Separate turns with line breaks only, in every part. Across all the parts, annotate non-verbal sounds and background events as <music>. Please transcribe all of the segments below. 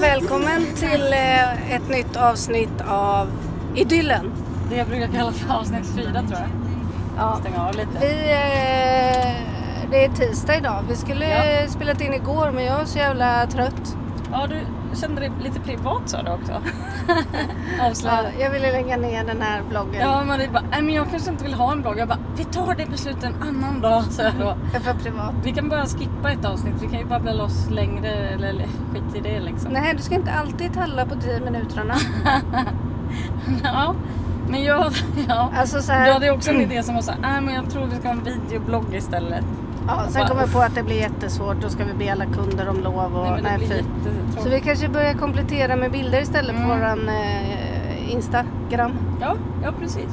välkommen till eh, ett nytt avsnitt av Idyllen.
Det jag brukar kalla för avsnitt fyra tror jag.
Ja.
Stänga av lite.
Vi, eh, det är tisdag idag. Vi skulle ja. spelat in igår men jag är så jävla trött.
Ja, du kände dig lite privat sa
<laughs>
du också.
Ja,
Avslöjad.
jag ville lägga ner den här bloggen.
Ja, Marie bara, nej men jag kanske inte vill ha en blogg. Jag bara, vi tar det beslutet en annan dag, sa jag då.
Det är för privat.
Vi kan bara skippa ett avsnitt, vi kan ju babbla loss längre eller, eller skit i det liksom. <laughs>
Nej, du ska inte alltid talla på 10 minuterna.
ja, men jag, <laughs> ja.
Alltså så
Du
här,
hade ju också en idé som var såhär, nej men jag tror vi ska ha en videoblogg istället.
ja, sen kom jag på att det blir jättesvårt. Då ska vi be alla kunder om lov och
Nej men det blir
fy.
jättetråkigt.
Så vi kanske börjar komplettera med bilder istället
Mm.
på våran eh, Instagram.
Ja, ja precis.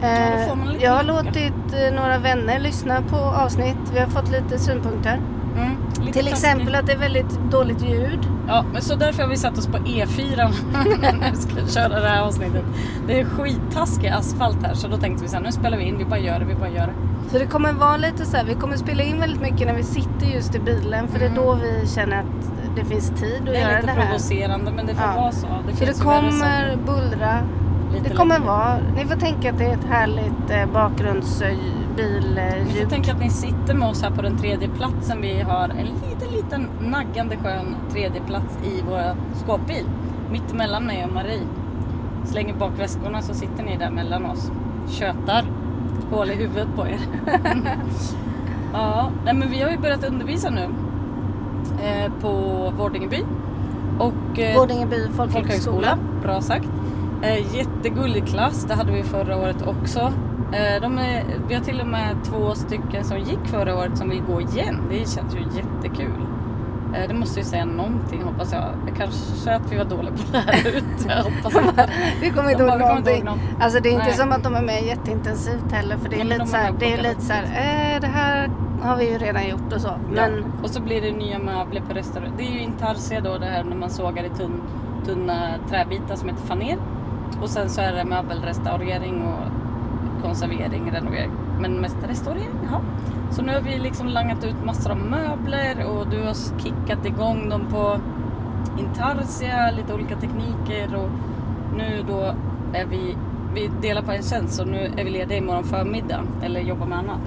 Ja, då
Eh,
får man lite
jag har
lucka.
låtit eh, några vänner lyssna på avsnitt. Vi har fått lite synpunkter.
Mm,
Till
lite taskigt.
exempel att det är väldigt dåligt ljud.
Ja, men så därför har vi satt oss på E4 när <laughs> vi ska köra det här avsnittet. Det är skittaskig asfalt här så då tänkte vi så här, nu spelar vi in, vi bara gör det, vi bara gör det.
Så det kommer vara lite så här, vi kommer spela in väldigt mycket när vi sitter just i bilen. För det är då vi känner att det finns tid att
Mm. Det är
göra
lite
det här.
provocerande men det får
Ja.
vara så. Det
För
finns
det
ju värre saker.
kommer bullra.
Lite
Det kommer
längre.
vara, ni får tänka att det är ett härligt eh, bakgrundsbilljud.
Ni får tänka att ni sitter med oss här på den tredje platsen. Vi har en liten, liten naggande skön tredje plats i vår skåpbil. Mitt emellan mig och Marie. Slänger bak väskorna så sitter ni där mellan oss. Tjötar. Hål i huvudet på er. <laughs> ja, nej men vi har ju börjat undervisa nu. Eh, på Vårdingeby. Och eh,
Vårdingeby folkhögskola.
folkhögskola. Bra sagt. Eh, jättegullig klass, det hade vi förra året också. Eh, de är, vi har till och med två stycken som gick förra året som vill gå igen. Det känns ju jättekul. Eh, det måste ju säga någonting hoppas jag. Kanske att vi var dåliga på att lära ut. Jag hoppas inte.
<laughs> Vi kommer inte
De
ihåg
bara, vi kommer inte
någonting.
ihåg någon.
Alltså det är inte
Nej.
som att de är med jätteintensivt heller. För det är
Nej, men
lite
de
så
har
här,
bara
det är
plockat
lite
upp
så här, eh, det här har vi ju redan gjort och så. Men
Och så blir det nya möbler på restaurang. Det är ju intarsia då det här när man sågar i tunn, tunna träbitar som heter faner. Och sen så är det möbelrestaurering och konservering, renovering. Men mest restaurering, ja. Så nu har vi liksom langat ut massor av möbler och du har kickat igång dem på intarsia, lite olika tekniker och nu då är vi, vi delar på en tjänst så nu är vi lediga imorgon förmiddag eller jobbar med annat.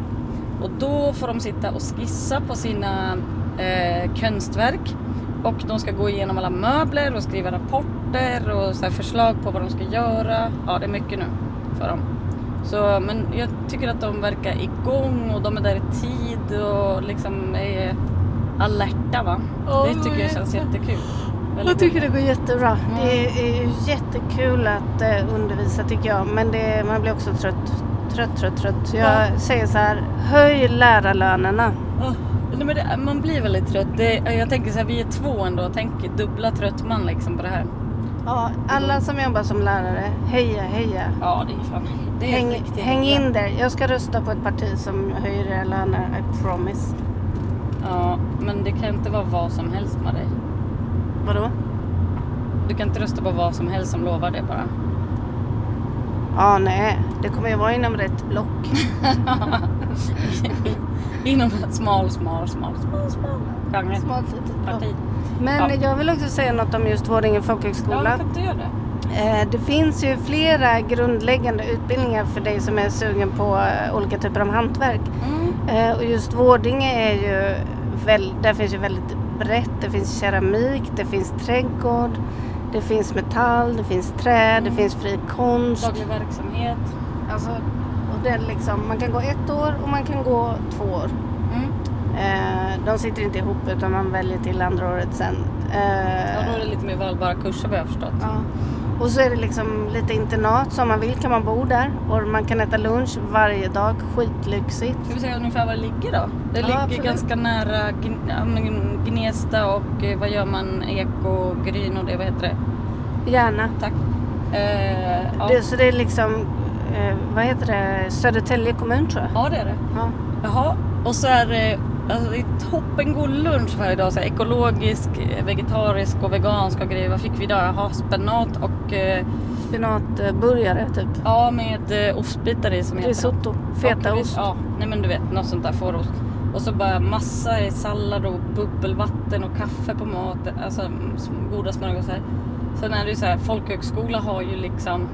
Och då får de sitta och skissa på sina eh, konstverk och de ska gå igenom alla möbler och skriva rapporter och så här förslag på vad de ska göra. Ja, det är mycket nu för dem. Så, men jag tycker att de verkar igång och de är där i tid och liksom är alerta va.
Ja,
det tycker jag känns jättekul.
jag
Väldigt
tycker det
roligt.
går jättebra.
Mm.
Det är ju jättekul att eh, undervisa tycker jag. Men det, man blir också trött. Trött, trött, trött. Så Jag säger så här, höj lärarlönerna.
Ja, nej, men det, man blir väldigt trött. Det, jag tänker så här, vi är två ändå. Tänk dubbla trött man liksom på det här.
Ja, alla som jobbar som lärare, heja, heja.
Ja, det är fan. Det är
Häng,
riktigt
häng
jävla-
in där. Jag ska rösta på ett parti som höjer era löner, I promise.
Ja, men det kan inte vara vad som helst med dig.
Vadå?
Du kan inte rösta på vad som helst som lovar det bara.
Ja, nej. Det kommer ju vara inom rätt block.
Inom en smal, smal, smal, smal, smal genre.
Smalt litet block.
Parti.
Men
Ja.
jag vill också säga något om just Vårdinge
Ja,
folkhögskola.
varför inte göra det?
Eh, Det finns ju flera grundläggande utbildningar för dig som är sugen på eh, olika typer av hantverk.
Mm.
Eh, Och just Vårdinge är ju, väl, där finns ju väldigt brett. Det finns keramik, det finns trädgård, det finns metall, det finns trä,
Mm.
det finns fri konst.
Daglig verksamhet.
Alltså, och det är liksom, man kan gå ett år och man kan gå två år.
Mm.
Eh, De sitter inte ihop utan man väljer till andra året sen. Eh,
Ja, då är det lite mer valbara kurser vad jag har förstått.
Ja. Och så är det liksom lite internat, så om man vill kan man bo där och man kan äta lunch varje dag, skitlyxigt.
Ska vi säga ungefär var det ligger då? Det
Ja,
ligger
absolut.
ganska nära Gn- ja, men Gnesta och eh, vad gör man? Ekogryn och det, vad heter det?
Gärna.
Tack. Eh, ja.
Det, så det är liksom, eh, vad heter det, Södertälje kommun tror jag.
ja, det är det.
Ja.
Jaha, och så är det, alltså det är toppengod lunch varje dag. Så här, ekologisk, eh, vegetarisk och vegansk och grejer. Vad fick vi idag? Jaha, spenat och eh,
Spinatburgare typ.
ja, med eh, ostbitar i som heter
Risotto,
något.
fetaost.
Och ris- Ja, nej men du vet något sånt där fårost. Och så bara massa i sallad och bubbelvatten och kaffe på mat. Alltså sm- goda smörgåsar. Sen är det ju så här, folkhögskola har ju liksom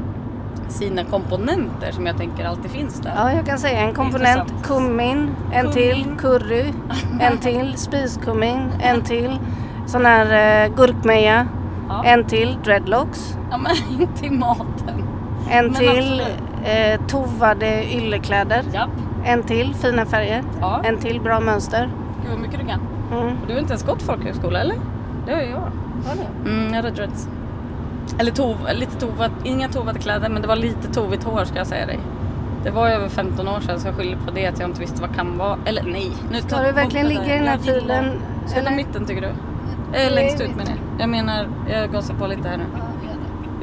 sina komponenter som jag tänker alltid finns där.
Ja, jag kan säga en komponent
Intressant.
kummin, en
Kummin.
till
<laughs>
curry, en till spiskummin, en till sån här eh, gurkmeja,
Ja.
en till dreadlocks,
Ja men <laughs> inte i maten.
en
Men
till eh, tovade yllekläder,
Japp.
en till fina färger,
Ja.
en till bra mönster.
Gud vad mycket du kan.
Mm.
Du har inte ens gått folkhögskola eller? Det har ju jag. Mm, jag hade dreads. Eller tov, lite tovat, inga tovade kläder men det var lite tovigt hår ska jag säga dig. Det var ju över 15 år sedan så jag skyller på det att jag inte visste vad kan vara. Eller nej. Nu
Ska du verkligen
bort det
ligga i den här
Jag gillar-
filen,
Eller
eller?
mitten tycker du? Eh, längst ut menar jag. Jag menar, jag gasar på lite här nu.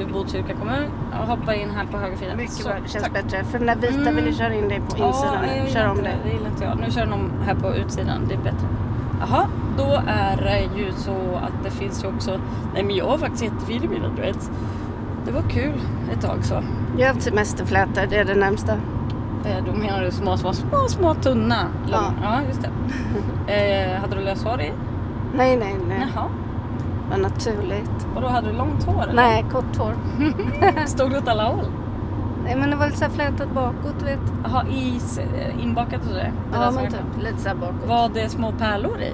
I Botkyrka kommun. Jag hoppar in här på högerfilen.
Mycket
Så,
bra, det känns
tack.
bättre. För den där vita
Mm.
vill ju köra in dig på insidan
Ja, jag
nu.
gillar
Kör om
inte
det.
Det gillar inte jag. Nu kör de här på utsidan. Det är bättre. Jaha, då är det ju så att det finns ju också... Nej men jag var faktiskt jättefin i mina dreads. Det var kul ett tag så.
Jag har haft semesterflätor, det är det närmsta.
Eh, Då menar du små, små, små, små tunna.
Ja.
lång- ja just <laughs> det. eh, hade du löshår i?
Nej, nej, nej.
Jaha.
Vad naturligt.
Och då hade du långt hår? eller?
Nej, kort hår.
<laughs> Stod det åt alla håll?
Nej, men det var lite så här flätat bakåt, vet.
Jaha, is eh, inbakat och sådär? Det där
Ja,
som
men
jag-
typ lite så här bakåt.
Var det små pärlor i?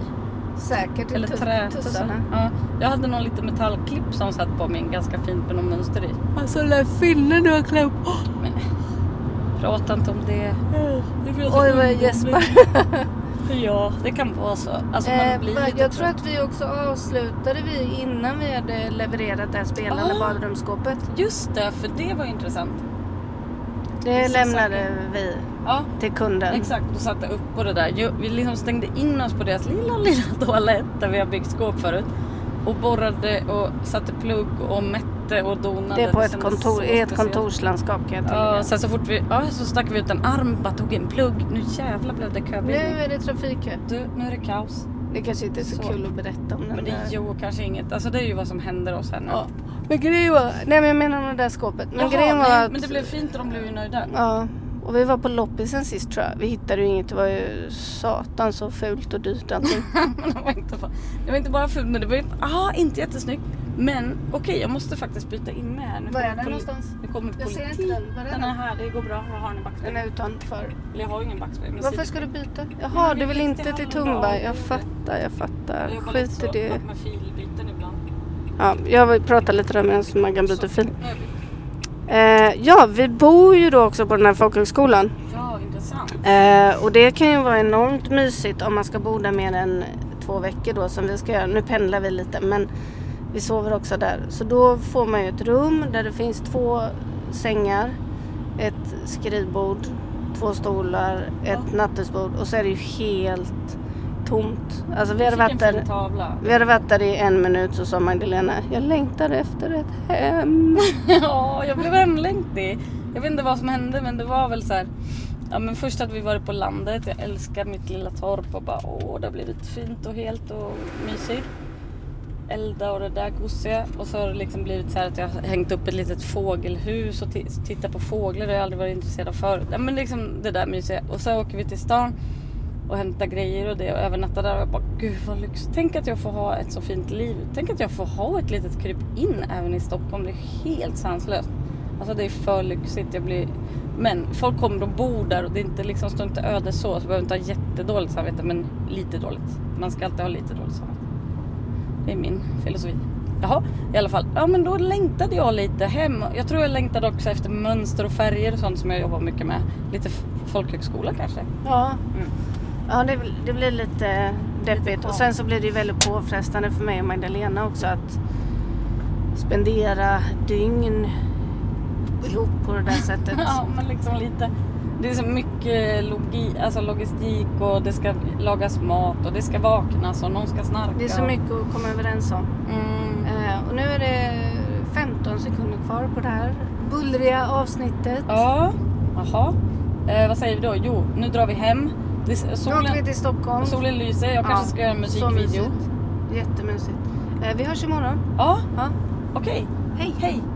Säkert i
Eller
tu-
trätussar?
tussarna.
Ja, jag hade någon liten metallklipp som satt på min ganska fint med någon mönster i. Alltså den där finnen du har klämt Men prata inte om det.
Oj, vad jag gäspar.
<laughs> Ja, det kan vara så. Alltså man
Eh,
blir
va-
lite
jag tror att vi också avslutade vi innan vi hade levererat det här spelande
Ah.
badrumsskåpet.
Just det, för det var intressant.
Det
Vissa
lämnade vi
Ja,
till kunden.
Exakt, och satte upp på det där. Ju- Vi liksom stängde in oss på deras lilla, <laughs> lilla toalett där vi har byggt skåp förut. Och borrade och satte plugg och mätte och donade.
Det är på ett
kändes så
kontor, i ett
speciellt.
kontorslandskap kan jag tillägga.
Ja, sen så fort vi, ja, så stack vi ut en arm, bara tog en plugg. Nu jävlar blev det
Nu
köbildning.
är det trafikkö.
Du, nu är det kaos.
Det kanske inte är så,
Så.
kul att berätta om den
Men det
där.
är ju kanske inget, alltså det är ju vad som händer oss här nu.
Ja. Men grejen var, nej men jag menar det där skåpet. Men
Jaha,
grejen var
nej,
att,
men det blev fint och de blev ju nöjda. <laughs>
ja. Och vi var på loppisen sist tror jag. Vi hittade ju inget, det var ju satan så fult och dyrt allting.
<laughs> Men det, var inte, fa- det var inte bara fult men det var ju, ah, inte jättesnyggt. Men okej jag måste faktiskt byta in mig här. Nu
Var är
kommer
den
poli-
någonstans?
Nu kommer
Jag ser
politik.
inte den. Var är
den
den?
är här, det går bra. Jag har en
Den
backspegel.
är utanför.
Eller jag har ju ingen backspegel. men
Varför
sidan-
ska du byta?
Nej,
Jaha,
men
du
det
vill
gick
inte
till
till
handen
Tumba.
av-
Jag fattar, jag fattar.
Jag jobbar lite
Skit i
så,
det.
Med filbyten ibland.
Ja, jag pratar lite där medan Maggan byter
Så,
fil.
nu har jag bytt.
Eh, ja, vi bor ju då också på den här folkhögskolan.
Ja, intressant.
Eh, och det kan ju vara enormt mysigt om man ska bo där mer än två veckor då som vi ska göra. Nu pendlar vi lite men vi sover också där. Så då får man ju ett rum där det finns två sängar, ett skrivbord, två stolar, ett nattduksbord och så är det ju helt tomt. Alltså vi
Vi
hade
fick
varit
en
där
fin tavla.
vi hade varit där i en minut så sa Magdalena, jag längtar efter ett
<laughs>
hem.
Ja, jag blev hemlängtig. Jag vet inte vad som hände men det var väl så här. Ja men först hade vi varit på landet. Jag älskar mitt lilla torp och bara åh det har blivit fint och helt och mysigt. Elda och det där gosiga. Och så har det liksom blivit så här att jag har hängt upp ett litet fågelhus och t- tittat på fåglar. Det har jag aldrig varit intresserad av förut. Ja, men liksom det där mysiga. Och så åker vi till stan och hämtar grejer och det och övernattar där. Och jag bara gud vad lyx. Tänk att jag får ha ett så fint liv. Tänk att jag får ha ett litet kryp in även i Stockholm. Det är helt sanslöst. Alltså det är för lyxigt. Jag blir... Men folk kommer och bor där och det är inte liksom står inte öde så. Så behöver inte ha jättedåligt samvete men lite dåligt. Man ska alltid ha lite dåligt samvete. Det är min filosofi. Jaha, i alla fall. Ja men då längtade jag lite hem. Jag tror jag längtade också efter mönster och färger och sånt som jag jobbar mycket med. Lite f- folkhögskola kanske.
Ja,
Mm.
ja det, bl- det blir lite deppigt. Och sen så blir det ju väldigt påfrestande för mig och Magdalena också att spendera dygn ihop på det där sättet.
Ja, men liksom lite. Det är så mycket logi, alltså logistik och det ska lagas mat och det ska vaknas och någon ska snarka.
Det är så
och-
mycket att komma överens om.
Mm.
Eh, och nu är det 15 sekunder kvar på det här bullriga avsnittet.
Ja, jaha. Eh, vad säger vi då? Jo, nu drar vi hem. Det, är-
Nu åker vi
solen,
till Stockholm.
solen lyser. Jag kanske ska göra en
så
musikvideo.
mysigt. Jättemysigt. Eh, vi hörs imorgon.
Ja,
Ja.
okej.
Hej!
Hej!